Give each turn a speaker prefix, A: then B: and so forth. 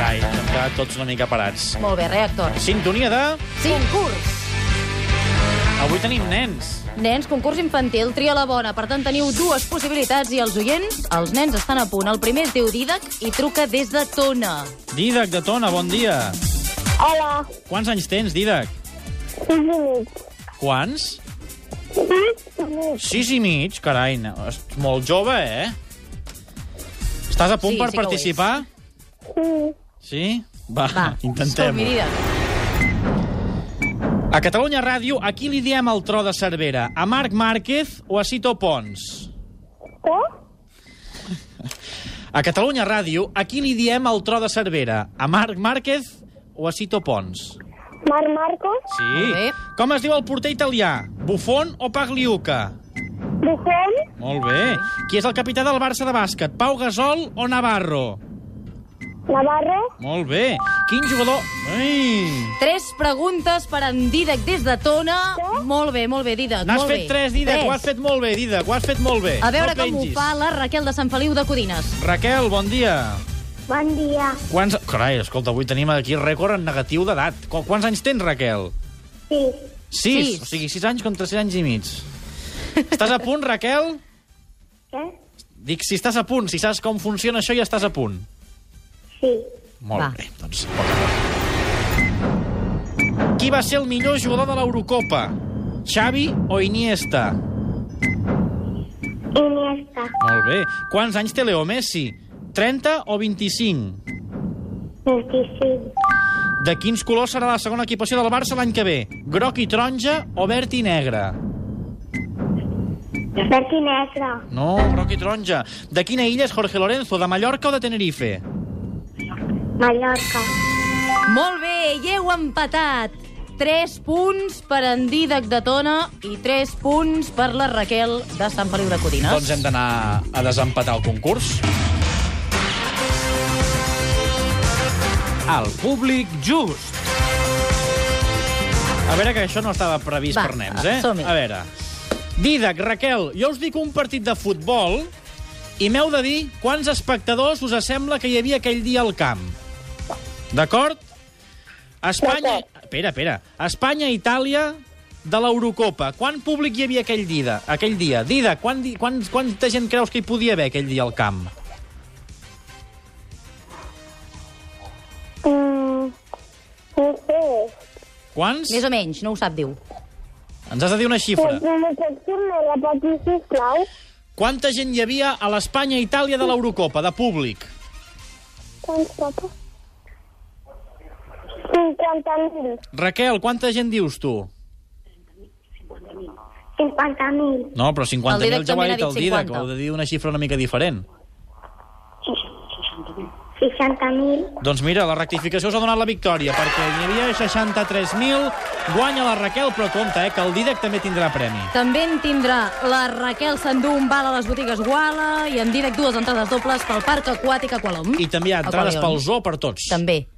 A: ja tots una mica parats.
B: Molt bé, reactors.
A: Sintonia de...
B: Sí. Concurs.
A: Avui tenim nens.
B: Nens, concurs infantil, tria la bona. Per tant, teniu dues possibilitats i els oients, els nens estan a punt. El primer es diu Didac i truca des de Tona.
A: Didac de Tona, bon dia.
C: Hola,
A: Quants anys tens, Didac?
C: sis i mig.
A: Quants?
C: Sis i mig.
A: Sis i mig, carai, no, és molt jove, eh? Estàs a punt
B: Sí,
A: per
B: sí que ho
A: participar?
C: Sí.
A: Sí? Va,
B: Va,
A: intentem.
B: som-hi, Didac.
A: A Catalunya Ràdio, a qui li diem el tro de Cervera? A Marc Márquez o a Cito Pons?
C: Què?
A: A Catalunya Ràdio, a qui li diem el tro de Cervera? A Marc Márquez o a Cito Pons?
C: Marc Marcos,
A: Sí.
B: Molt bé.
A: Com es diu el porter italià? Buffon o Pagliuca?
C: Buffon,
A: Molt bé. Qui és el capità del Barça de bàsquet? Pau Gasol o Navarro?
C: Navarro,
A: Molt bé. Quin jugador... Ai.
B: Tres preguntes per en Didac des de Tona.
C: Sí?
B: Molt bé, molt bé, Didac.
A: N'has
B: molt
A: fet
B: bé.
A: tres, Didac. Ho has fet molt bé, Didac. Ho has fet molt bé.
B: A veure
A: no
B: com ho
A: pengis.
B: fa la Raquel de Sant Feliu de Codines.
A: Raquel, bon dia.
C: bon dia,
A: Quants... Carai, escolta, avui tenim aquí rècord en negatiu d'edat. Qu- Quants anys tens, Raquel?
C: sí,
A: Sis.
B: Sis.
A: O sigui, sis anys contra sis anys i mig. Estàs a punt, Raquel?
C: què?
A: Dic, si estàs a punt, si saps com funciona això, ja estàs a punt.
C: Sí,
A: Molt
B: Va.
A: bé, doncs... poca cosa. Qui va ser el millor jugador de l'Eurocopa? Xavi o Iniesta?
C: Iniesta,
A: Molt bé. Quants anys té Leo Messi? 30 o 25?
C: 25,
A: De quins colors serà la segona equipació del Barça l'any que ve? Groc i taronja o verd i negre?
C: verd i negre,
A: No, groc i taronja. De quina illa és Jorge Lorenzo, de Mallorca o de Tenerife?
C: Mallorca,
B: Molt bé, i heu empatat. 3 punts per en Didac de Tona i 3 punts per la Raquel de Sant Feliu de Codines.
A: Doncs hem d'anar a desempatar el concurs.
D: El públic just.
A: A veure, que això no estava previst
B: Va,
A: per nens, eh?
B: som-hi.
A: A veure. Didac, Raquel, jo us dic un partit de futbol i m'heu de dir quants espectadors us sembla que hi havia aquell dia al camp. D'acord? Espanya...
C: D'acord.
A: Espera, espera. Espanya, Itàlia, de l'Eurocopa. Quant públic hi havia aquell dia? Aquell dia? Dida, quant, di- quants, quanta gent creus que hi podia haver aquell dia al camp?
C: mm, no sé,
A: Quants?
B: Més o menys, no ho sap, diu.
A: Ens has de dir una xifra.
C: doncs no m'ho pots dir-me la patir, sisplau,
A: Quanta gent hi havia a l'Espanya-Itàlia de l'Eurocopa, de públic?
C: quants papa? 50.000,
A: Raquel, quanta gent dius tu?
C: 50.000,
A: No, però 50.000
B: El Didac
A: ja ho ha
B: també
A: dit
B: n'ha
A: el
B: dit
A: Didac.
B: 50.
A: Heu de dir una xifra una mica diferent.
C: 60.000,
A: Doncs mira, la rectificació us ha donat la victòria, perquè n'hi havia 63.000, guanya la Raquel, però compte, eh, que el Didac també tindrà premi.
B: També en tindrà la Raquel s'endú un bal a les botigues Guala i en Didac dues entrades dobles pel Parc Aquàtic a Qualom.
A: I també hi ha entrades pel zoo per tots.
B: També.